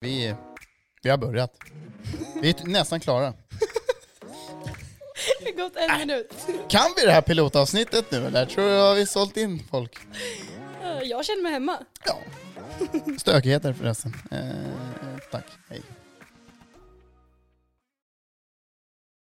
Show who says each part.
Speaker 1: Vi, vi har börjat. Vi är t- nästan klara.
Speaker 2: Det har gått en minut.
Speaker 1: Kan vi det här pilotavsnittet nu eller? Tror du har vi sålt in folk?
Speaker 2: Eh, Jag känner mig hemma.
Speaker 1: Ja. Stökigheter förresten. Eh, tack, hej.